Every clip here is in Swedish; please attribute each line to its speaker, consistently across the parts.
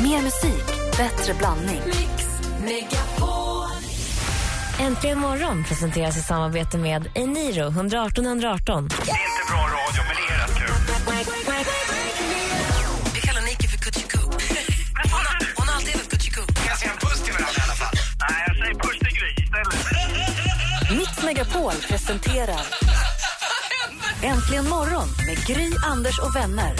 Speaker 1: Mer musik, bättre blandning.
Speaker 2: Äntligen morgon presenteras i samarbete med Eniro 118 118.
Speaker 3: Inte bra radio, men det är rätt kul.
Speaker 4: Vi kallar Nike för Kutjiku. Hon, har- hon har alltid hetat Kutjiku.
Speaker 3: Kan jag säga en puss till varandra i alla fall? Nej, jag säger puss till Gry istället.
Speaker 1: Mix Megapol presenterar Äntligen morgon med Gry, Anders och vänner.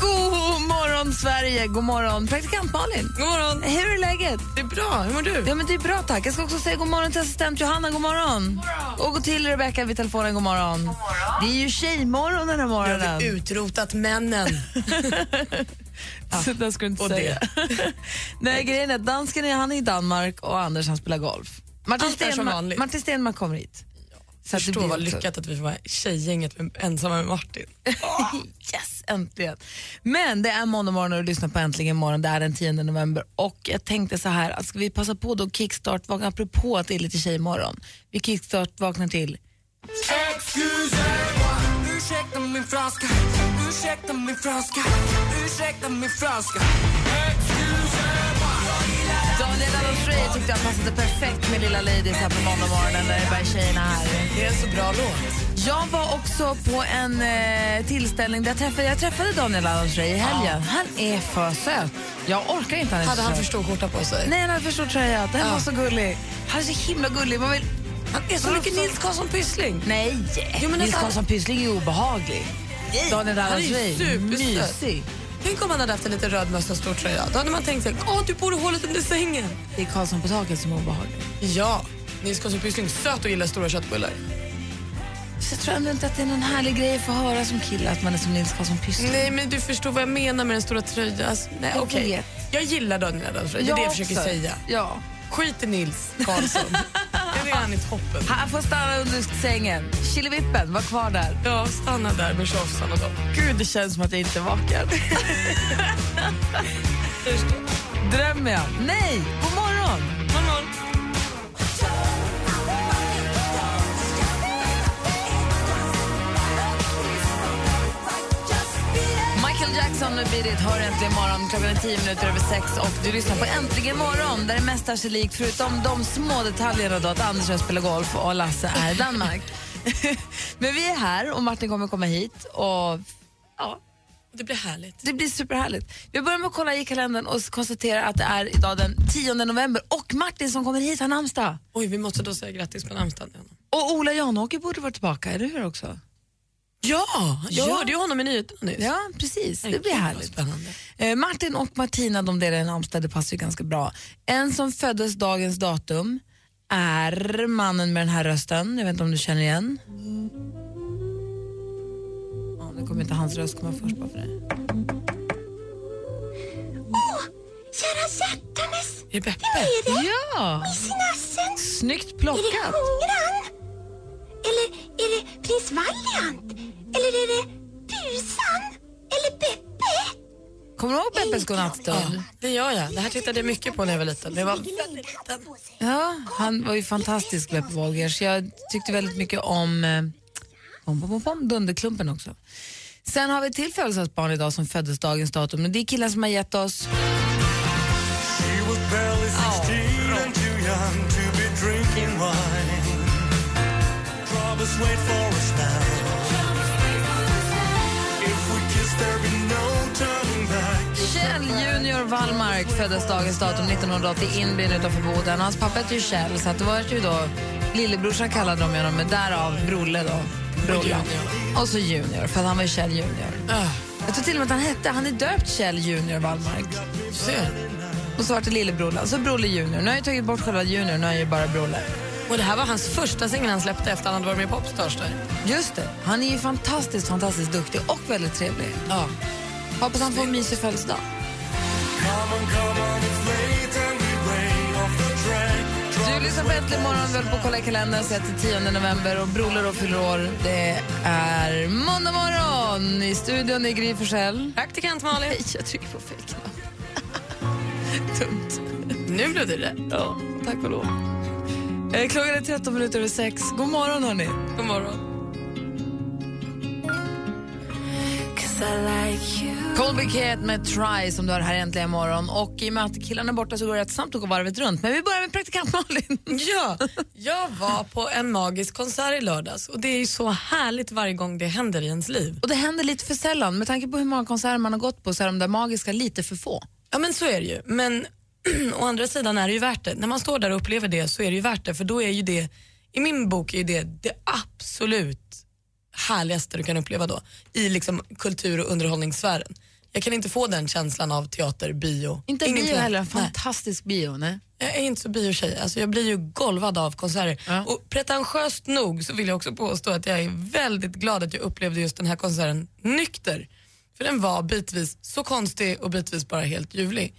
Speaker 5: God morgon, Sverige! God morgon, praktikant Malin! God morgon! Hur är läget? Det är bra. Hur mår du? Ja, men det är bra, tack. Jag ska också säga god morgon till assistent Johanna. God morgon! Och god till Rebecca vid telefonen. God morgon! God morgon. Det är ju tjejmorgon den här morgonen.
Speaker 4: Utrotat männen.
Speaker 5: Så där ska du inte säga. Nej, grejen är att dansken är, han är i Danmark och Anders han spelar golf. Martin,
Speaker 4: Allt är som vanligt.
Speaker 5: Martin Stenmarck kommer hit. Så att det
Speaker 4: Förstå
Speaker 5: blir
Speaker 4: vad
Speaker 5: också-
Speaker 4: lyckat att vi får vara tjejgänget med, ensamma med Martin.
Speaker 5: Yes, äntligen. Men det är måndag morgon och du lyssnar på Äntligen morgon. Det är den 10 november och jag tänkte så här att ska vi passa på då kickstart-vakna, apropå att det är lite tjejmorgon. Vi kickstart-vaknar till
Speaker 6: Ursäkta min franska, ursäkta min franska, ursäkta min franska.
Speaker 5: Daniel Adams-Ray tyckte jag passade perfekt med Lilla Ladies här på måndag morgonen när det bara är tjejerna här. Det är en så bra låt. Jag var också på en eh, tillställning där jag träffade, jag träffade Daniel Adams-Ray i helgen. Han är för söt. Jag orkar inte han är
Speaker 4: Hade
Speaker 5: så
Speaker 4: han för
Speaker 5: söt.
Speaker 4: stor skjorta på sig?
Speaker 5: Nej, han hade för stor tröja. Den
Speaker 4: Ja.
Speaker 5: var så gullig. Han är så himla gullig. Man vill...
Speaker 4: Han är så
Speaker 5: Han
Speaker 4: mycket
Speaker 5: också-
Speaker 4: Nils Karlsson Pyssling.
Speaker 5: Nej!
Speaker 4: Jo, men
Speaker 5: Nils
Speaker 4: alltså-
Speaker 5: Karlsson Pyssling är obehaglig. Daniel
Speaker 4: han är ju
Speaker 5: Adams-Ray,
Speaker 4: supersöt.
Speaker 5: mysig.
Speaker 4: Tänk om han hade haft en liten röd mössa och stor tröja. Då hade man tänkt sig, åh du bor i hålet under sängen.
Speaker 5: Det är Karlsson på taket som är obehaglig.
Speaker 4: Ja, Nils Karlsson Pyssling, söt och gillar stora köttbullar.
Speaker 5: Så jag tror ändå inte att det är någon härlig grej att få höra som kille att man är som Nils Karlsson Pyssling.
Speaker 4: Nej, men du förstår vad jag menar med den stora tröjan. Alltså, nej,
Speaker 5: Jag
Speaker 4: okej.
Speaker 5: vet.
Speaker 4: Jag gillar Daniel Adams-Ray, det är det jag försöker
Speaker 5: också.
Speaker 4: säga.
Speaker 5: Ja.
Speaker 4: Skit i Nils Karlsson. det är han i toppen.
Speaker 5: Han får stanna under sängen. Killevippen, var kvar där.
Speaker 4: Ja, stanna där med tjofsarna då.
Speaker 5: Gud, det känns som att jag inte är vaken. Drömmer jag? Nej! God morgon! Michael Jackson med Beat It hör äntligen morgon. Klockan är tio minuter över sex och du lyssnar på Äntligen morgon där det mesta är sig likt förutom de små detaljerna då att Anders och jag spelar golf och Lasse är i Danmark. Men vi är här och Martin kommer komma hit och ja,
Speaker 4: Det blir härligt.
Speaker 5: det blir superhärligt. Vi börjar med att kolla i kalendern och konstatera att det är idag den 10 november och Martin som kommer hit har namnsdag.
Speaker 4: Oj, vi måste då säga grattis på namnsdagen till honom.
Speaker 5: Och Ola Janåker borde vara tillbaka, eller hur också?
Speaker 4: Ja, jag
Speaker 5: Ja.
Speaker 4: hörde ju honom i nyheterna nyss.
Speaker 5: Ja, precis. Det blir
Speaker 4: Gud, vad
Speaker 5: härligt.
Speaker 4: Spännande.
Speaker 5: Eh, Martin och Martina, de delar en namnsdag, det passar ju ganska bra. En som föddes dagens datum är mannen med den här rösten, jag vet inte om du känner igen. Ja, nu kommer inte hans röst komma först bara för det.
Speaker 7: Kära hjärtanes,
Speaker 4: Är det Beppe?
Speaker 5: Ja,
Speaker 7: sinassen,
Speaker 5: snyggt
Speaker 7: är det
Speaker 5: plockat.
Speaker 7: hungran? Eller är det prins Valiant? Eller är det Busan? Eller Beppe?
Speaker 5: Kommer du ihåg Beppes godnattstund?
Speaker 4: Det gör jag. Det här tittade jag mycket på när jag var liten. Det var...
Speaker 5: Ja, han var ju fantastisk, Beppe Wolgers. Jag tyckte väldigt mycket om, eh, om, om, om, om Dunderklumpen också. Sen har vi ett till födelsedagsbarn idag som föddes dagens datum. Men det är killen som har gett oss...
Speaker 8: She was barely 16 and too young to be drinking wine. Promise wait for us now. If we kiss, there'll be no turning back.
Speaker 5: Kjell Junior Wallmark föddes dagens datum 1980 i Inbyn utanför Boden. Hans pappa heter ju Kjell, så att det var ju då lillebrorsan kallade de honom, men därav Brolle då. Brolla. Och så Junior, för att han var ju Kjell Junior.
Speaker 4: Ah,
Speaker 5: Jag tror till och med att han hette, han är döpt Kjell Junior Wallmark.
Speaker 4: ser.
Speaker 5: Och så vart det lillebrorsan, så Brolle Junior. Nu har jag ju tagit bort själva Junior, nu är jag ju bara Brolle.
Speaker 4: Och det här var hans första singel han släppte efter han hade varit med i Popstars där.
Speaker 5: Just det, han är ju fantastiskt, fantastiskt duktig och väldigt trevlig.
Speaker 4: Ja.
Speaker 5: Hoppas han får en mysig födelsedag.
Speaker 8: Come on, come on, it's late and we way off the track.
Speaker 5: Du lyssnar på Äntligen morgon, vi håller på att kolla i kalendern så att det är 10 november och Broler och fyller år. Det är måndag morgon. I studion är Gry Forssell.
Speaker 4: Praktikant Malin.
Speaker 5: Nej, jag trycker på fel knapp. Dumt.
Speaker 4: Nu blev det rätt.
Speaker 5: Ja, tack och lov. Eh, Klockan är 13 minuter över sex. God morgon hörni.
Speaker 4: God morgon. 'Cause
Speaker 5: Colby Kate med Try som du har här äntligen imorgon. Och i och med att killarna är borta så går det rätt snabbt att gå varvet runt. Men vi börjar med praktikant Malin.
Speaker 4: Ja, jag var på en magisk konsert i lördags och det är ju så härligt varje gång det händer i ens liv.
Speaker 5: Och det händer lite för sällan. Med tanke på hur många konserter man har gått på så är de där magiska lite för få.
Speaker 4: Ja men så är det ju. Men å andra sidan är det ju värt det. När man står där och upplever det så är det ju värt det för då är ju det, i min bok är det det absolut härligaste du kan uppleva då i liksom kultur och underhållningssfären. Jag kan inte få den känslan av teater, bio.
Speaker 5: Inte en
Speaker 4: ingenting.
Speaker 5: bio heller, en
Speaker 4: Nej.
Speaker 5: fantastisk bio. Nej.
Speaker 4: Jag är inte så biotjej. Alltså jag blir ju golvad av konserter.
Speaker 5: Ja.
Speaker 4: Och pretentiöst nog så vill jag också påstå att jag är väldigt glad att jag upplevde just den här konserten nykter. För den var bitvis så konstig och bitvis bara helt ljuvlig.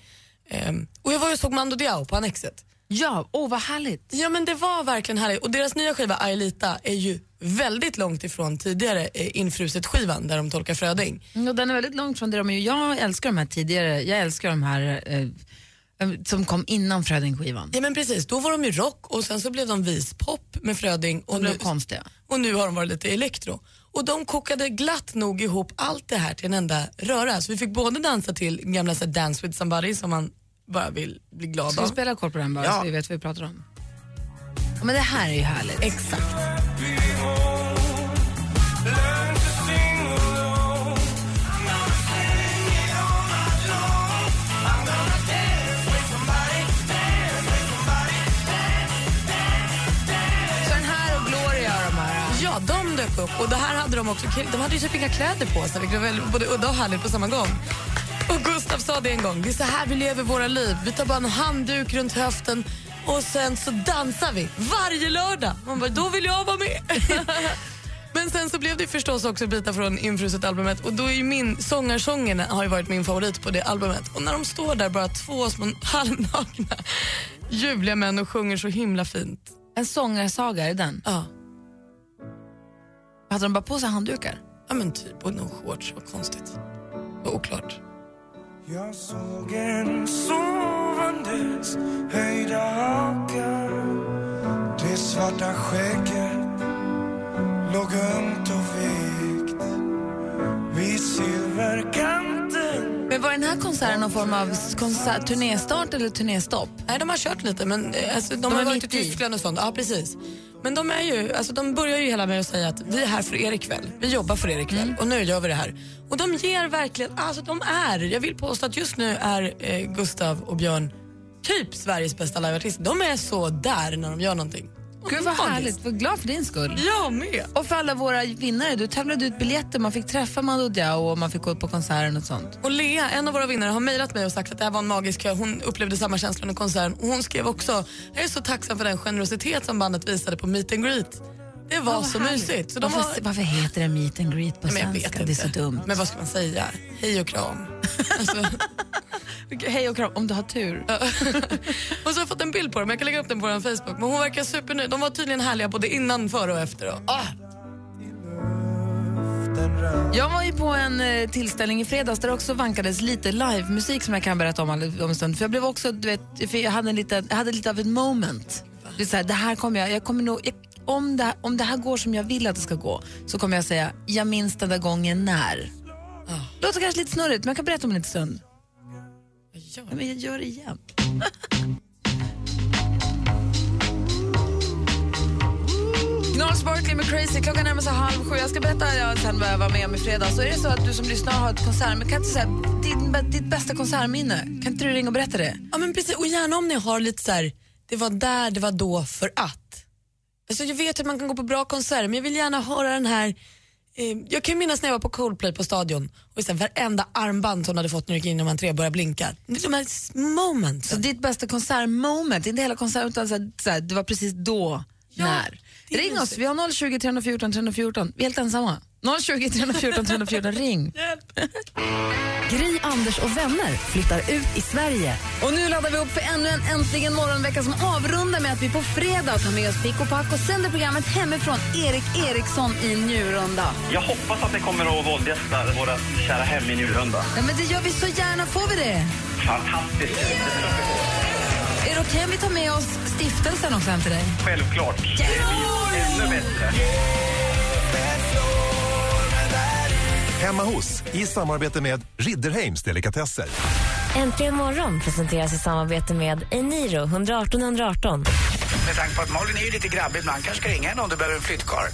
Speaker 4: Ehm, och jag var ju och såg Mando Diao på Annexet.
Speaker 5: Ja, åh vad härligt.
Speaker 4: Ja men det var verkligen härligt. Och deras nya skiva Aelita är ju väldigt långt ifrån tidigare eh, Infruset-skivan där de tolkar Fröding.
Speaker 5: Mm, Och den är väldigt långt från det de är. Jag älskar de här tidigare, jag älskar de här eh, eh, som kom innan Fröding-skivan.
Speaker 4: Ja men precis, då var de ju rock och sen så blev de vispop med Fröding. Och
Speaker 5: De blev
Speaker 4: nu-
Speaker 5: konstiga.
Speaker 4: och nu har de varit lite elektro. Och de kokade glatt nog ihop allt det här till en enda röra. Så vi fick både dansa till gamla så här, Dance with somebody som man bara vill bli glad
Speaker 5: Ska vi
Speaker 4: av.
Speaker 5: spela kort på den bara
Speaker 4: Ja.
Speaker 5: så vi vet vad vi pratar om? Ja, men det här är ju härligt.
Speaker 4: Exakt.
Speaker 5: Så den här och Gloria de här.
Speaker 4: Ja, de dök upp och det här hade de också. De hade ju typ inga kläder på sig, vilket var väldigt- både udda och härligt på samma gång. Och Gustav sa det en gång, det är så här vi lever våra liv. Vi tar bara en handduk runt höften och sen så dansar vi varje lördag. Man bara, då vill jag vara med. Men sen så blev det förstås också bitar från Infruset-albumet och då är ju min Sångarsången har ju varit min favorit på det albumet. Och när de står där bara två små halvnakna ljuvliga män och sjunger så himla fint.
Speaker 5: En sångarsaga, är det den?
Speaker 4: Ja.
Speaker 5: Hade de bara på sig handdukar?
Speaker 4: Ja men typ, och någon shorts, vad konstigt. Vad oklart.
Speaker 8: Jag såg en sovandes höjda haka Det svarta skägget låg ömt och vekt vid silverkanten
Speaker 5: Men var den här konserten någon form av konsert, turnéstart eller turnéstopp?
Speaker 4: Nej, de har kört lite, men eh, alltså, de,
Speaker 5: är
Speaker 4: har varit i
Speaker 5: mitt i.
Speaker 4: Tyskland och sånt. Ja, precis. Men de, är ju, alltså, de börjar ju hela med att säga att vi är här för er ikväll. Vi jobbar för er ikväll
Speaker 5: Mm.
Speaker 4: och nu gör vi det här. Och de ger verkligen, alltså de är, jag vill påstå att just nu är eh, Gustav och Björn typ Sveriges bästa liveartister. De är så där när de gör någonting. Och
Speaker 5: Gud vad
Speaker 4: magiskt.
Speaker 5: härligt, vad glad för din skull.
Speaker 4: Jag med.
Speaker 5: Och för alla våra vinnare, du tävlade ut biljetter, man fick träffa Mando Diao och man fick gå på konserten och sånt.
Speaker 4: Och Lea, en av våra vinnare, har mejlat mig och sagt att det här var en magisk kö. Hon upplevde samma känsla under konserten. Och hon skrev också, jag är så tacksam för den generositet som bandet visade på Meet and Greet. Det var så mysigt. Så de
Speaker 5: varför,
Speaker 4: har...
Speaker 5: varför heter det meet and greet på
Speaker 4: Men jag
Speaker 5: svenska?
Speaker 4: vet
Speaker 5: Det är
Speaker 4: inte.
Speaker 5: så dumt.
Speaker 4: Men vad ska man säga? Hej och kram. Alltså,
Speaker 5: hej och kram, om du har tur.
Speaker 4: och så har jag fått en bild på dem, jag kan lägga upp den på vår Facebook. Men hon verkar supernöjd. De var tydligen härliga både innan, före och efter. Då. Ah,
Speaker 5: Jag var ju på en eh, tillställning i fredags där det också vankades lite livemusik som jag kan berätta om all- om en stund. För jag blev också, du vet, för jag hade, en liten, jag hade lite av ett moment. Det, är så här, det här kommer jag, jag kommer nog, jag, om, det, här- om det här går som jag vill att det ska gå så kommer jag säga, jag minns den där gången när. Låter kanske lite snurrigt men jag kan berätta om det en liten stund. Ja, men jag gör det igen. Gnarls Barkley med Crazy. Klockan närmar sig halv sju. Jag ska berätta ja, sen vad jag var med om i fredags. Så är det så att du som lyssnar har ett konsert, men kan inte säga din, ditt bästa konsertminne? Kan inte du ringa och berätta det?
Speaker 4: Ja, men precis. Och gärna om ni har lite så här, det var där, det var då, för att. Alltså, jag vet att man kan gå på bra konserter, men jag vill gärna höra den här... Eh, jag kan ju minnas när jag var på Coldplay på Stadion och sen varenda armband som hon hade fått när hon gick in genom entré började blinka. Det är De här s-
Speaker 5: Så
Speaker 4: momenten.
Speaker 5: Alltså, ditt bästa konsertmoment, inte hela konserten utan så här, så här, det var precis då, när.
Speaker 4: det är
Speaker 5: Ring oss,
Speaker 4: mysigt.
Speaker 5: vi har 020 314 314. Vi är helt ensamma. 020 314 314, ring.
Speaker 1: Gry, Anders och vänner flyttar ut i Sverige.
Speaker 5: Och nu laddar vi upp för ännu en Äntligen morgonvecka som avrundar med att vi på fredag tar med oss Pick och Pack och sänder programmet hemifrån Erik Eriksson i Njurunda.
Speaker 3: Jag hoppas att det kommer att våldgästa våra kära hem i Njurunda.
Speaker 5: Ja, men det gör vi så gärna. Får vi det?
Speaker 3: Fantastiskt!
Speaker 5: Är det okej om vi tar med oss stiftelsen också hem till dig?
Speaker 3: Självklart. Det blir ännu bättre.
Speaker 9: Hemma hos, i samarbete med Ridderheims Delikatesser.
Speaker 2: Äntligen morgon presenteras i samarbete med Eniro 118 118.
Speaker 3: Med tanke på att Malin är ju lite grabbig ibland kanske ska ringa henne om du behöver en flyttkarl.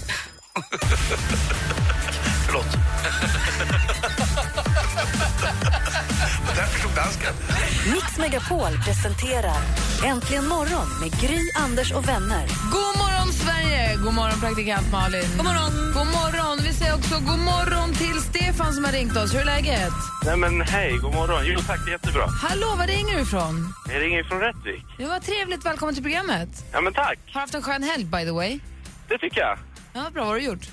Speaker 3: Förlåt. Där förstod dansken.
Speaker 1: Mix Megapol presenterar Äntligen morgon med Gry, Anders och vänner.
Speaker 5: God morgon, Sverige! God morgon, praktikant Malin. God morgon. God morgon. Vi säger också god morgon till Stefan som har ringt oss. Hur är läget?
Speaker 10: Nej men hej, god morgon. Jo tack, det är jättebra.
Speaker 5: Hallå, var ringer du ifrån?
Speaker 10: Jag ringer från Rättvik.
Speaker 5: Det var trevligt. Välkommen till programmet.
Speaker 10: Ja men tack,
Speaker 5: Har haft en skön helg, by the way.
Speaker 10: det tycker jag.
Speaker 5: Ja, bra. Vad har du gjort?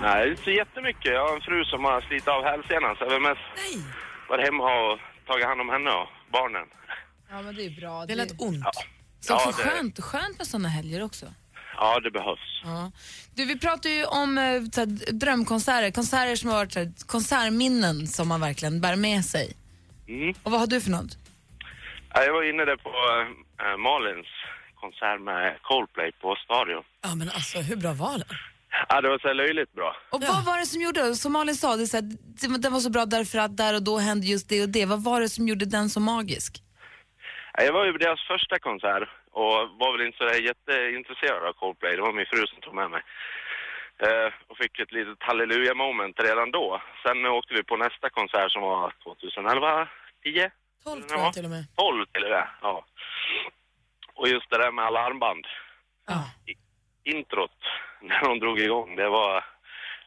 Speaker 10: Nej, inte så jättemycket. Jag har en fru som har slitit av hälsenan så jag har mest varit hemma och tagit hand om henne och barnen.
Speaker 5: Ja, men det är bra.
Speaker 4: Det lät ont.
Speaker 5: Så
Speaker 10: Ja, det-
Speaker 5: skönt, skönt med såna helger också.
Speaker 10: Ja, det behövs.
Speaker 5: Ja. Du, vi pratar ju om eh, så här, drömkonserter, konserter som har varit så här, konsertminnen som man verkligen bär med sig.
Speaker 10: Mm.
Speaker 5: Och vad har du för något?
Speaker 10: Ja, Jag var inne där på äh, Malins konsert med Coldplay på Stadion.
Speaker 4: Ja, men alltså, hur bra var den?
Speaker 10: Ja, det var så här löjligt bra.
Speaker 5: Och vad var det som gjorde, som Malin sa, det, är så här, det var- den var så bra därför att där och då hände just det och det. Vad var det som gjorde den så magisk?
Speaker 10: Ja, Jag var ju på deras första konsert och var väl inte så där jätteintresserad av Coldplay. Det var min fru som tog med mig. Eh, och fick ett litet halleluja-moment redan då. Sen åkte vi på nästa konsert som var 2011, 10,
Speaker 4: 12 tror jag till och med.
Speaker 10: 12 till och med. Ja. Och just det där med alarmband.
Speaker 4: Ja.
Speaker 10: I, introt, när de drog igång, det var,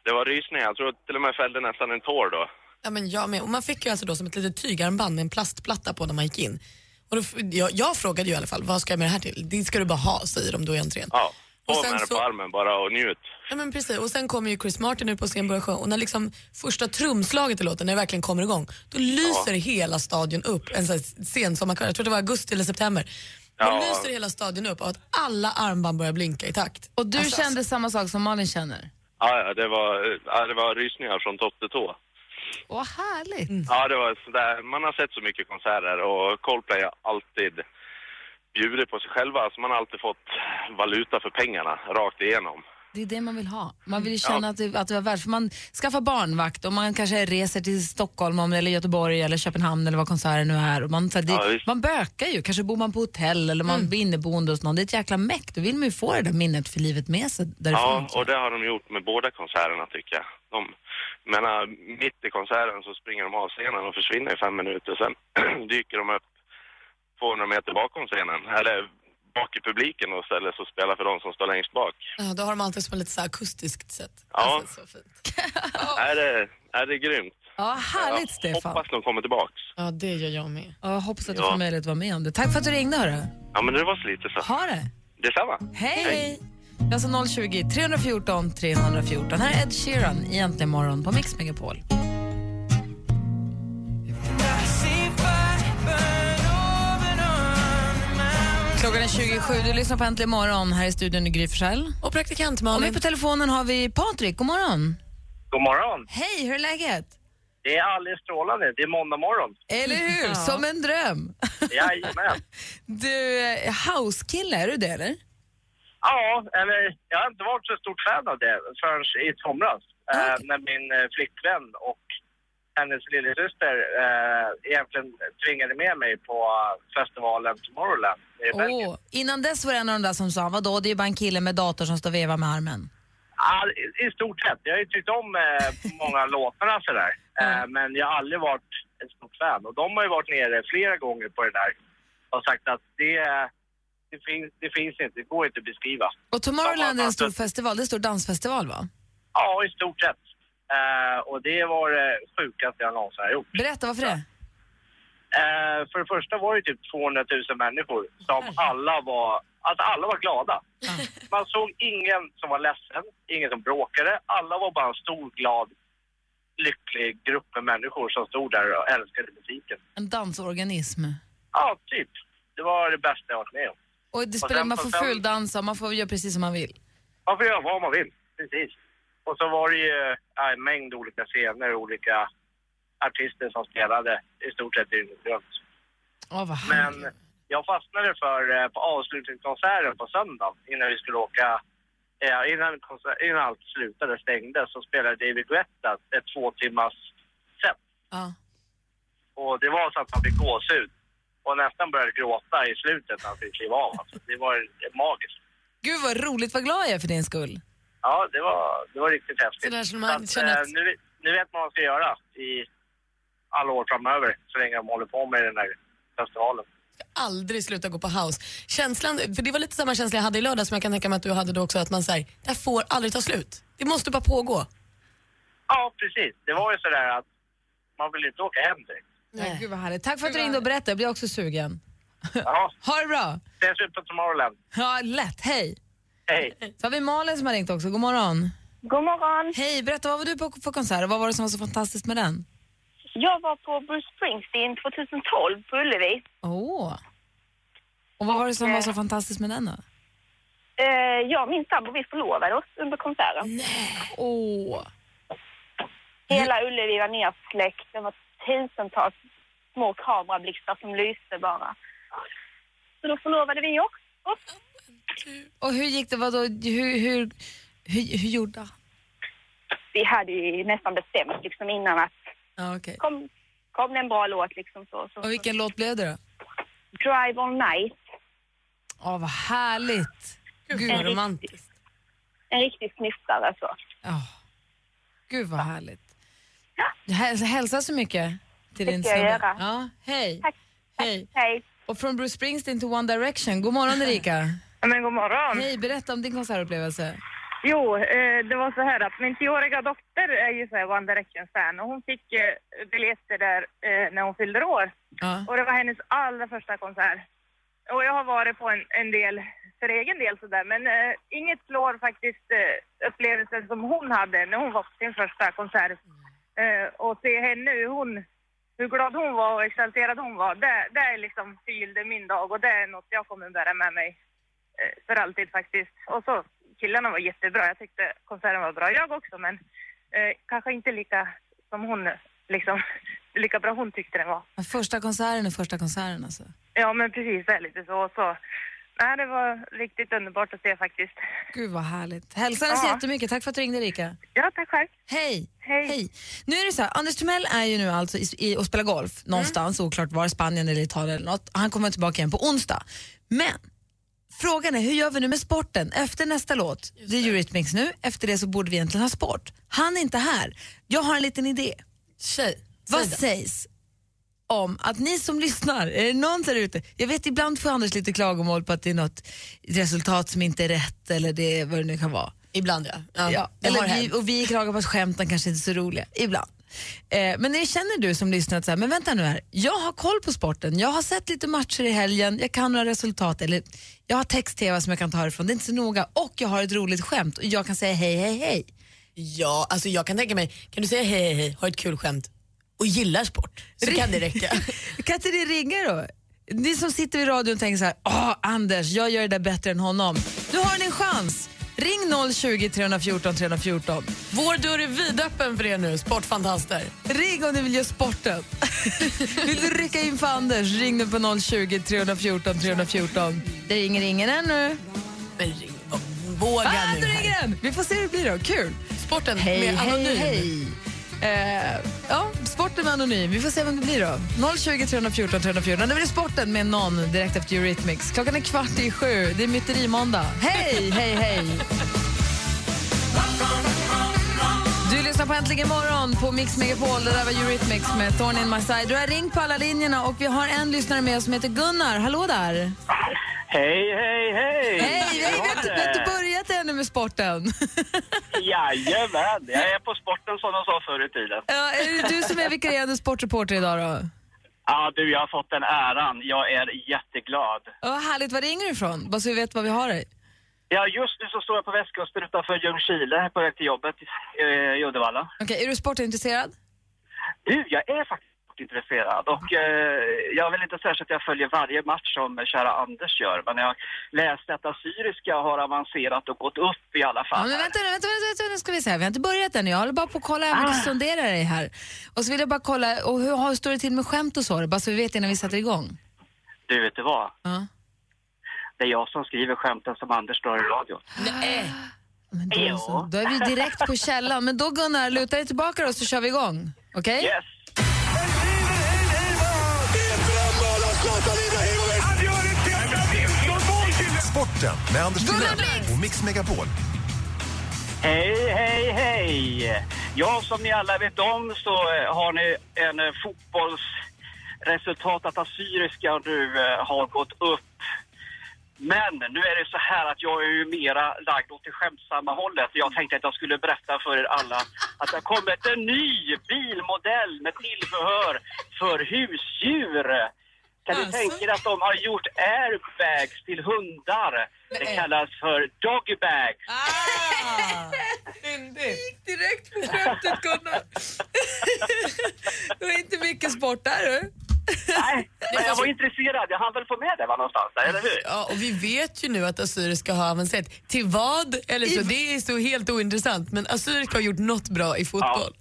Speaker 10: det var rysningar. Jag tror till och med jag fällde nästan en tår då.
Speaker 4: Ja, men jag med. Och man fick ju alltså då som ett litet tygarmband med en plastplatta på när man gick in. Och då, f- jag, jag frågade ju i alla fall, vad ska jag med det här till? Det ska du bara ha, säger de då i entrén.
Speaker 10: Ja, på
Speaker 4: Och sen
Speaker 10: med den
Speaker 4: så-
Speaker 10: på armen bara och njut.
Speaker 4: Ja, men precis. Och sen kommer ju Chris Martin ut på scen börjar sjunga och när liksom första trumslaget i låten, när det verkligen kommer igång, då lyser hela stadion upp en sån här sen sommarkväll. Jag tror det var augusti eller september. Då
Speaker 10: Ja.
Speaker 4: lyser hela stadion upp av att alla armband börjar blinka i takt.
Speaker 5: Och du
Speaker 4: Alltså,
Speaker 5: kände samma sak som Malin känner?
Speaker 10: Ja, ja, det var, ja, det var rysningar från topp till tå.
Speaker 5: Vad härligt.
Speaker 4: Mm.
Speaker 10: Ja, det var sådär. Man har sett så mycket konserter och Coldplay har alltid bjudit på sig själva. Så man har alltid fått valuta för pengarna rakt igenom.
Speaker 5: Det är det man vill ha. Man vill ju
Speaker 10: Mm.
Speaker 5: känna att, det, att det var värt. För man skaffar barnvakt och man kanske reser till Stockholm om- eller Göteborg eller Köpenhamn eller vad konserten nu är. Och man, så här, det,
Speaker 10: Ja, visst. Mm.
Speaker 5: man bökar ju. Kanske bor man på hotell eller man blir inneboende hos någon. Det är ett jäkla meck. Då vill man ju få det där minnet för livet med sig därifrån.
Speaker 10: Ja, och det har de gjort med båda konserterna tycker jag. De, men mitt i konserten så springer de av scenen och försvinner i fem minuter. Sen dyker de upp 200 meter bakom scenen, eller bak i publiken och ställer sig och spelar för de som står längst bak.
Speaker 4: Ja, då har de alltid som ett lite så här akustiskt sätt.
Speaker 10: Ja.
Speaker 4: Alltså, så fint.
Speaker 10: Är, det, är det grymt?
Speaker 5: Ja, härligt
Speaker 10: jag
Speaker 5: Stefan.
Speaker 10: hoppas de kommer tillbaks.
Speaker 4: Ja, det gör jag med.
Speaker 5: Ja, jag hoppas att du
Speaker 10: Ja.
Speaker 5: får möjlighet att vara med om det. Tack för att du ringde hörru.
Speaker 10: Ja, men det var så lite så.
Speaker 5: Ha det.
Speaker 10: Detsamma.
Speaker 5: Hej!
Speaker 10: Hej.
Speaker 5: Det är alltså 020 314 314. Här är Ed Sheeran i Äntligen morgon på Mix Megapol. Klockan är 27, du lyssnar på Äntligen morgon. Här i studion i Gry Forssell.
Speaker 4: Och praktikant
Speaker 5: Och med
Speaker 4: Malin.
Speaker 5: på telefonen har vi Patrik, god morgon.
Speaker 3: God morgon.
Speaker 5: Hej, hur är läget?
Speaker 3: Det är alldeles strålande. Det är måndag morgon.
Speaker 5: Eller hur? Som en dröm.
Speaker 3: Jajamän.
Speaker 5: Du, eh, housekille, är du det eller?
Speaker 3: Ja, eller jag har inte varit så stort fan av det förrän i somras. Eh, när min eh, flickvän och hennes lillasyster eh, egentligen tvingade med mig på festivalen Tomorrowland i Belgien.
Speaker 5: Åh, innan dess var det en av de där som sa, vadå, det är ju bara en kille med dator som står och vevar med armen.
Speaker 3: Ja, i- i stort sett. Jag har ju tyckt om eh, många av låtarna sådär. Eh, men jag har aldrig varit ett stort fan. Och de har ju varit nere flera gånger på det där och sagt att det, eh, det, finns, det finns inte, det går inte att beskriva.
Speaker 5: Och Tomorrowland är en stor
Speaker 3: Ja,
Speaker 5: festival, det är en stor dansfestival va?
Speaker 3: Ja, i stort sett. Eh, och det var det sjukaste jag någonsin har gjort.
Speaker 5: Berätta, varför det?
Speaker 3: Eh, för det första var det typ 200 000 människor som alla var, alltså alla var glada. Man såg ingen som var ledsen, ingen som bråkade. Alla var bara en stor, glad, lycklig grupp med människor som stod där och älskade musiken.
Speaker 5: En dansorganism.
Speaker 3: Ja, typ. Det var det bästa jag varit med om.
Speaker 5: Och det
Speaker 3: Och
Speaker 5: spelar,
Speaker 3: sen
Speaker 5: man
Speaker 3: på
Speaker 5: får
Speaker 3: sen-
Speaker 5: fuldansa, man får göra precis som man vill.
Speaker 3: Man får göra vad man vill, precis. Och så var det ju ja, en mängd olika scener och olika artister som spelade i stort sett dygnet runt.
Speaker 5: Åh, vad
Speaker 3: Men
Speaker 5: härligt.
Speaker 3: äh, jag fastnade för eh, på avslutningskonserten på söndagen innan vi skulle åka eh, innan, konser- innan allt slutade och stängdes så spelade David Guetta ett två timmars set.
Speaker 4: Ja.
Speaker 3: Och det var så att man fick gåshud och nästan började gråta i slutet när han fick kliva av. Alltså, det var eh, magiskt.
Speaker 5: Gud vad roligt, vad glad jag är för din skull.
Speaker 3: Ja, det var, det var riktigt häftigt.
Speaker 5: Sådär som
Speaker 3: Så
Speaker 5: man
Speaker 3: att,
Speaker 5: känner
Speaker 3: eh,
Speaker 5: att-
Speaker 3: nu, nu vet man vad man ska göra i alla år framöver så länge de håller på med den här festivalen.
Speaker 4: aldrig sluta gå på house. Känslan, för det var lite samma känsla jag hade i lördag som jag kan tänka mig att du hade då också, att man säger det här får aldrig ta slut. Det måste bara pågå.
Speaker 3: Ja, precis. Det var ju sådär att man vill inte åka hem direkt.
Speaker 5: Ja, gud vad härligt. Tack för att du ringde och berättade, jag blir också sugen.
Speaker 3: Ja,
Speaker 5: Ha det bra!
Speaker 3: ses ut på Tomorrowland.
Speaker 5: Ja, lätt. Hej!
Speaker 3: Hej!
Speaker 5: Så har vi Malin som har ringt också. God morgon.
Speaker 11: God morgon.
Speaker 5: Hej, berätta vad var du på för konsert och vad var det som var så fantastiskt med den?
Speaker 11: Jag var på Bruce Springsteen 2012 på Ullevi.
Speaker 5: Åh. Och vad var det som var så fantastiskt med den då?
Speaker 11: Eh, jag och min sambo vi förlovade oss under konserten. Nej.
Speaker 5: Åh.
Speaker 11: Hela Ullevi var nersläckt. Det var tusentals små kamerablixtar som lyste bara. Så då förlovade vi också.
Speaker 5: Och hur gick det? Vadå? Hur, hur, hur, hur gjorde han?
Speaker 11: Vi hade ju nästan bestämt liksom innan att
Speaker 5: Ja, okej.
Speaker 11: kom, kom det en bra låt liksom så. så.
Speaker 5: Och vilken låt blev det då?
Speaker 11: Drive All Night.
Speaker 5: Åh, vad härligt. Gud, vad
Speaker 11: En
Speaker 5: romantiskt.
Speaker 11: En riktig snyftare så.
Speaker 5: Ja. Gud, vad härligt. Häl- Hälsa så mycket till
Speaker 11: Det
Speaker 5: din
Speaker 11: ska jag
Speaker 5: snubbe.
Speaker 11: göra.
Speaker 5: Ja, hej. Hej.
Speaker 11: Hej.
Speaker 5: Och från Bruce Springsteen till One Direction. God morgon Erika.
Speaker 12: Men god morgon.
Speaker 5: Hej, berätta om din konsertupplevelse.
Speaker 12: Jo, eh, det var så här att min tioåriga dotter är ju så här One Direction-fan och hon fick eh, biljetter där eh, när hon fyllde år.
Speaker 5: Ja.
Speaker 12: Och det var hennes allra första konsert. Och jag har varit på en, en del, för egen del sådär, men eh, inget slår faktiskt eh, upplevelsen som hon hade när hon var på sin första konsert. Eh, och se henne, hur, hon, hur glad hon var och exalterad hon var, det, det är liksom förgyllde min dag och det är något jag kommer bära med mig eh, för alltid faktiskt. Och så killarna var jättebra. Jag tyckte konserten var bra jag också, men eh, kanske inte lika som hon, liksom, lika bra hon tyckte den var.
Speaker 5: Första konserten är första konserten alltså.
Speaker 12: Ja, men precis, det är lite så. så. Nej, det var riktigt underbart att se faktiskt.
Speaker 5: Gud vad härligt. Hälsa henne så
Speaker 12: Ja.
Speaker 5: jättemycket. Tack för att du ringde Erika.
Speaker 12: Ja, tack själv.
Speaker 5: Hej. Hej. Nu är det så här, Anders Timell är ju nu alltså i, i, och spelar golf
Speaker 4: Mm.
Speaker 5: någonstans, oklart var, Spanien eller Italien eller något. Han kommer tillbaka igen på onsdag. Men frågan är, hur gör vi nu med sporten? Efter nästa låt, det är Eurythmics nu, efter det så borde vi egentligen ha sport. Han är inte här. Jag har en liten idé.
Speaker 4: Tjej,
Speaker 5: Vad sägs om att ni som lyssnar, är det någon där ute, jag vet ibland får Anders lite klagomål på att det är något resultat som inte är rätt eller det, vad det nu kan vara.
Speaker 4: Ibland ja. Ja, det har
Speaker 5: eller vi,
Speaker 4: hänt.
Speaker 5: och vi klagar på att skämten kanske inte är så roliga, ibland. Eh, men när känner du som lyssnar att så här, men vänta nu här, jag har koll på sporten, jag har sett lite matcher i helgen, jag kan några resultat, eller jag har text-tv som jag kan ta ifrån, det är inte så noga, och jag har ett roligt skämt och jag kan säga hej, hej, hej.
Speaker 4: Ja, alltså jag kan tänka mig, kan du säga hej, hej, hej, har ett kul skämt och gillar sport så kan det räcka.
Speaker 5: Kan inte ni ringa då? Ni som sitter vid radion och tänker så här, åh Anders, jag gör det där bättre än honom. Nu har ni en chans. Ring 020 314 314.
Speaker 4: Vår dörr är vidöppen för er nu, sportfantaster.
Speaker 5: Ring om du vill göra sporten. Vill du rycka in för Anders, ring nu på 020 314 314. Det ringer ingen ännu.
Speaker 4: Men ring, våga
Speaker 5: ah,
Speaker 4: nu
Speaker 5: nu
Speaker 4: här.
Speaker 5: ringer den. Vi får se hur det blir då. Kul.
Speaker 4: Sporten
Speaker 5: hej,
Speaker 4: med Anonym.
Speaker 5: Hej, hej. Eh, ja, sporten med Anonym. Vi får se vem det blir då. 020 314 314. Det blir sporten med någon direkt efter Eurythmics. Klockan är kvart i sju. Det är myterimåndag. Hej, hej, hej. Du lyssnar på Äntligen morgon på Mix Megapol. Det där var Eurythmics med Thorn in my side. Du har ringt på alla linjerna och vi har en lyssnare med oss som heter Gunnar. Hallå där!
Speaker 13: Hej, hej, hej!
Speaker 5: Hej, vi har inte, vi har inte börjat ännu med sporten.
Speaker 13: Jajamän, jag är på sporten som de sa förr i tiden.
Speaker 5: Ja, är det du som är vikarierande sportreporter idag då?
Speaker 13: Ja, du, jag har fått den äran. Jag är jätteglad.
Speaker 5: Ja, vad härligt, var ringer du ifrån? Bara så vi vet vad vi har dig.
Speaker 13: Ja, just nu så står jag på västkusten utanför Ljungskile på väg till jobbet eh, i Uddevalla.
Speaker 5: Okej, är du sportintresserad?
Speaker 13: Du, jag är faktiskt intresserad och eh, jag vill inte säga så att jag följer varje match som kära Anders gör, men jag läste att Assyriska har avancerat och gått upp i alla
Speaker 5: Ja,
Speaker 13: fall.
Speaker 5: men vänta nu, vänta, vänta, vänta, nu ska vi se här. Vi har inte börjat än. Jag håller bara på att kolla, jag ah. sondera dig här. Och så vill jag bara kolla, och hur har- står det till med skämt och så? Bara så vi vet innan vi sätter igång.
Speaker 13: Du, vet du vad?
Speaker 5: Ja.
Speaker 13: Det är jag som skriver skämten som Anders drar i radio.
Speaker 4: Nej.
Speaker 5: Men då, jo. Så, då är vi direkt på källan. Men då Gunnar, luta dig tillbaka då så kör vi igång. Okej?
Speaker 8: Yes.
Speaker 14: Sporten med Anders
Speaker 8: Gunnar
Speaker 14: Timell och Mix Megapol.
Speaker 3: Hej, hej, hej! Ja, som ni alla vet om så eh, har ni en eh, fotbollsresultat att Assyriska nu eh, har gått upp. Men nu är det så här att jag är ju mera lagd åt det skämtsamma hållet. Jag tänkte att jag skulle berätta för er alla att det har kommit en ny bilmodell med tillbehör för husdjur. Kan ni tänka er att de har gjort airbags till hundar? Det kallas för doggybags.
Speaker 4: Ah! gick direkt på skämtet, Gunnar. det var inte mycket sport där, du.
Speaker 3: Nej, men jag var intresserad. Jag hann väl få med det va, någonstans, där, eller hur?
Speaker 4: Ja, och vi vet ju nu att assyriska har avancerat. Till vad? Eller så, det är så helt ointressant. Men assyriska har gjort något bra i fotboll.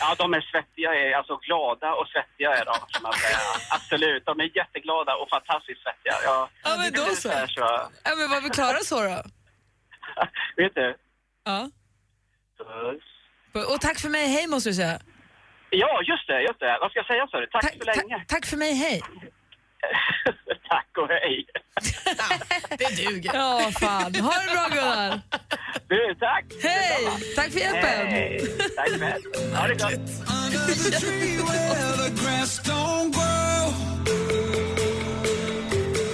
Speaker 3: Ja, de är svettiga, är alltså glada och svettiga är de, kan man säga. Absolut, de är jätteglada och fantastiskt svettiga. Ja,
Speaker 4: Ja, men då så.
Speaker 3: Ungefär
Speaker 4: Ja, men var vi klara så då?
Speaker 3: Vet du?
Speaker 4: Ja.
Speaker 3: Puss.
Speaker 5: Och tack för mig, hej måste du säga.
Speaker 3: Ja, just det, just det. Vad ska jag säga, sa du? Tack för länge.
Speaker 5: Tack för mig, hej.
Speaker 3: Tack och hej.
Speaker 4: Det duger.
Speaker 5: Ja, fan. Ha det bra, Gunnar.
Speaker 3: Du, tack.
Speaker 5: Hej! Tack för hjälpen.
Speaker 3: Tack själv. Ha det gott.
Speaker 8: Under the tree where the grass don't grow. These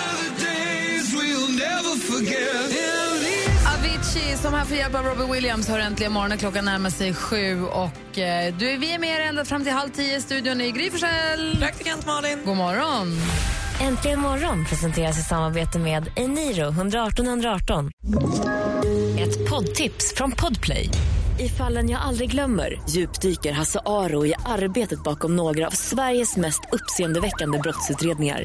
Speaker 8: are the days we'll never forget.
Speaker 5: Avicii som här får hjälp av Robbie Williams har äntligen morgonen. Klockan närmar sig sju och eh, du, vi är med er ända fram till halv tio. Studion är Gry Forssell.
Speaker 4: Praktikant Malin.
Speaker 5: God morgon.
Speaker 2: Äntligen morgon presenteras i samarbete med Eniro 118 118. Ett poddtips från Podplay. I fallen jag aldrig glömmer djupdyker Hasse Aro i arbetet bakom några av Sveriges mest uppseendeväckande brottsutredningar.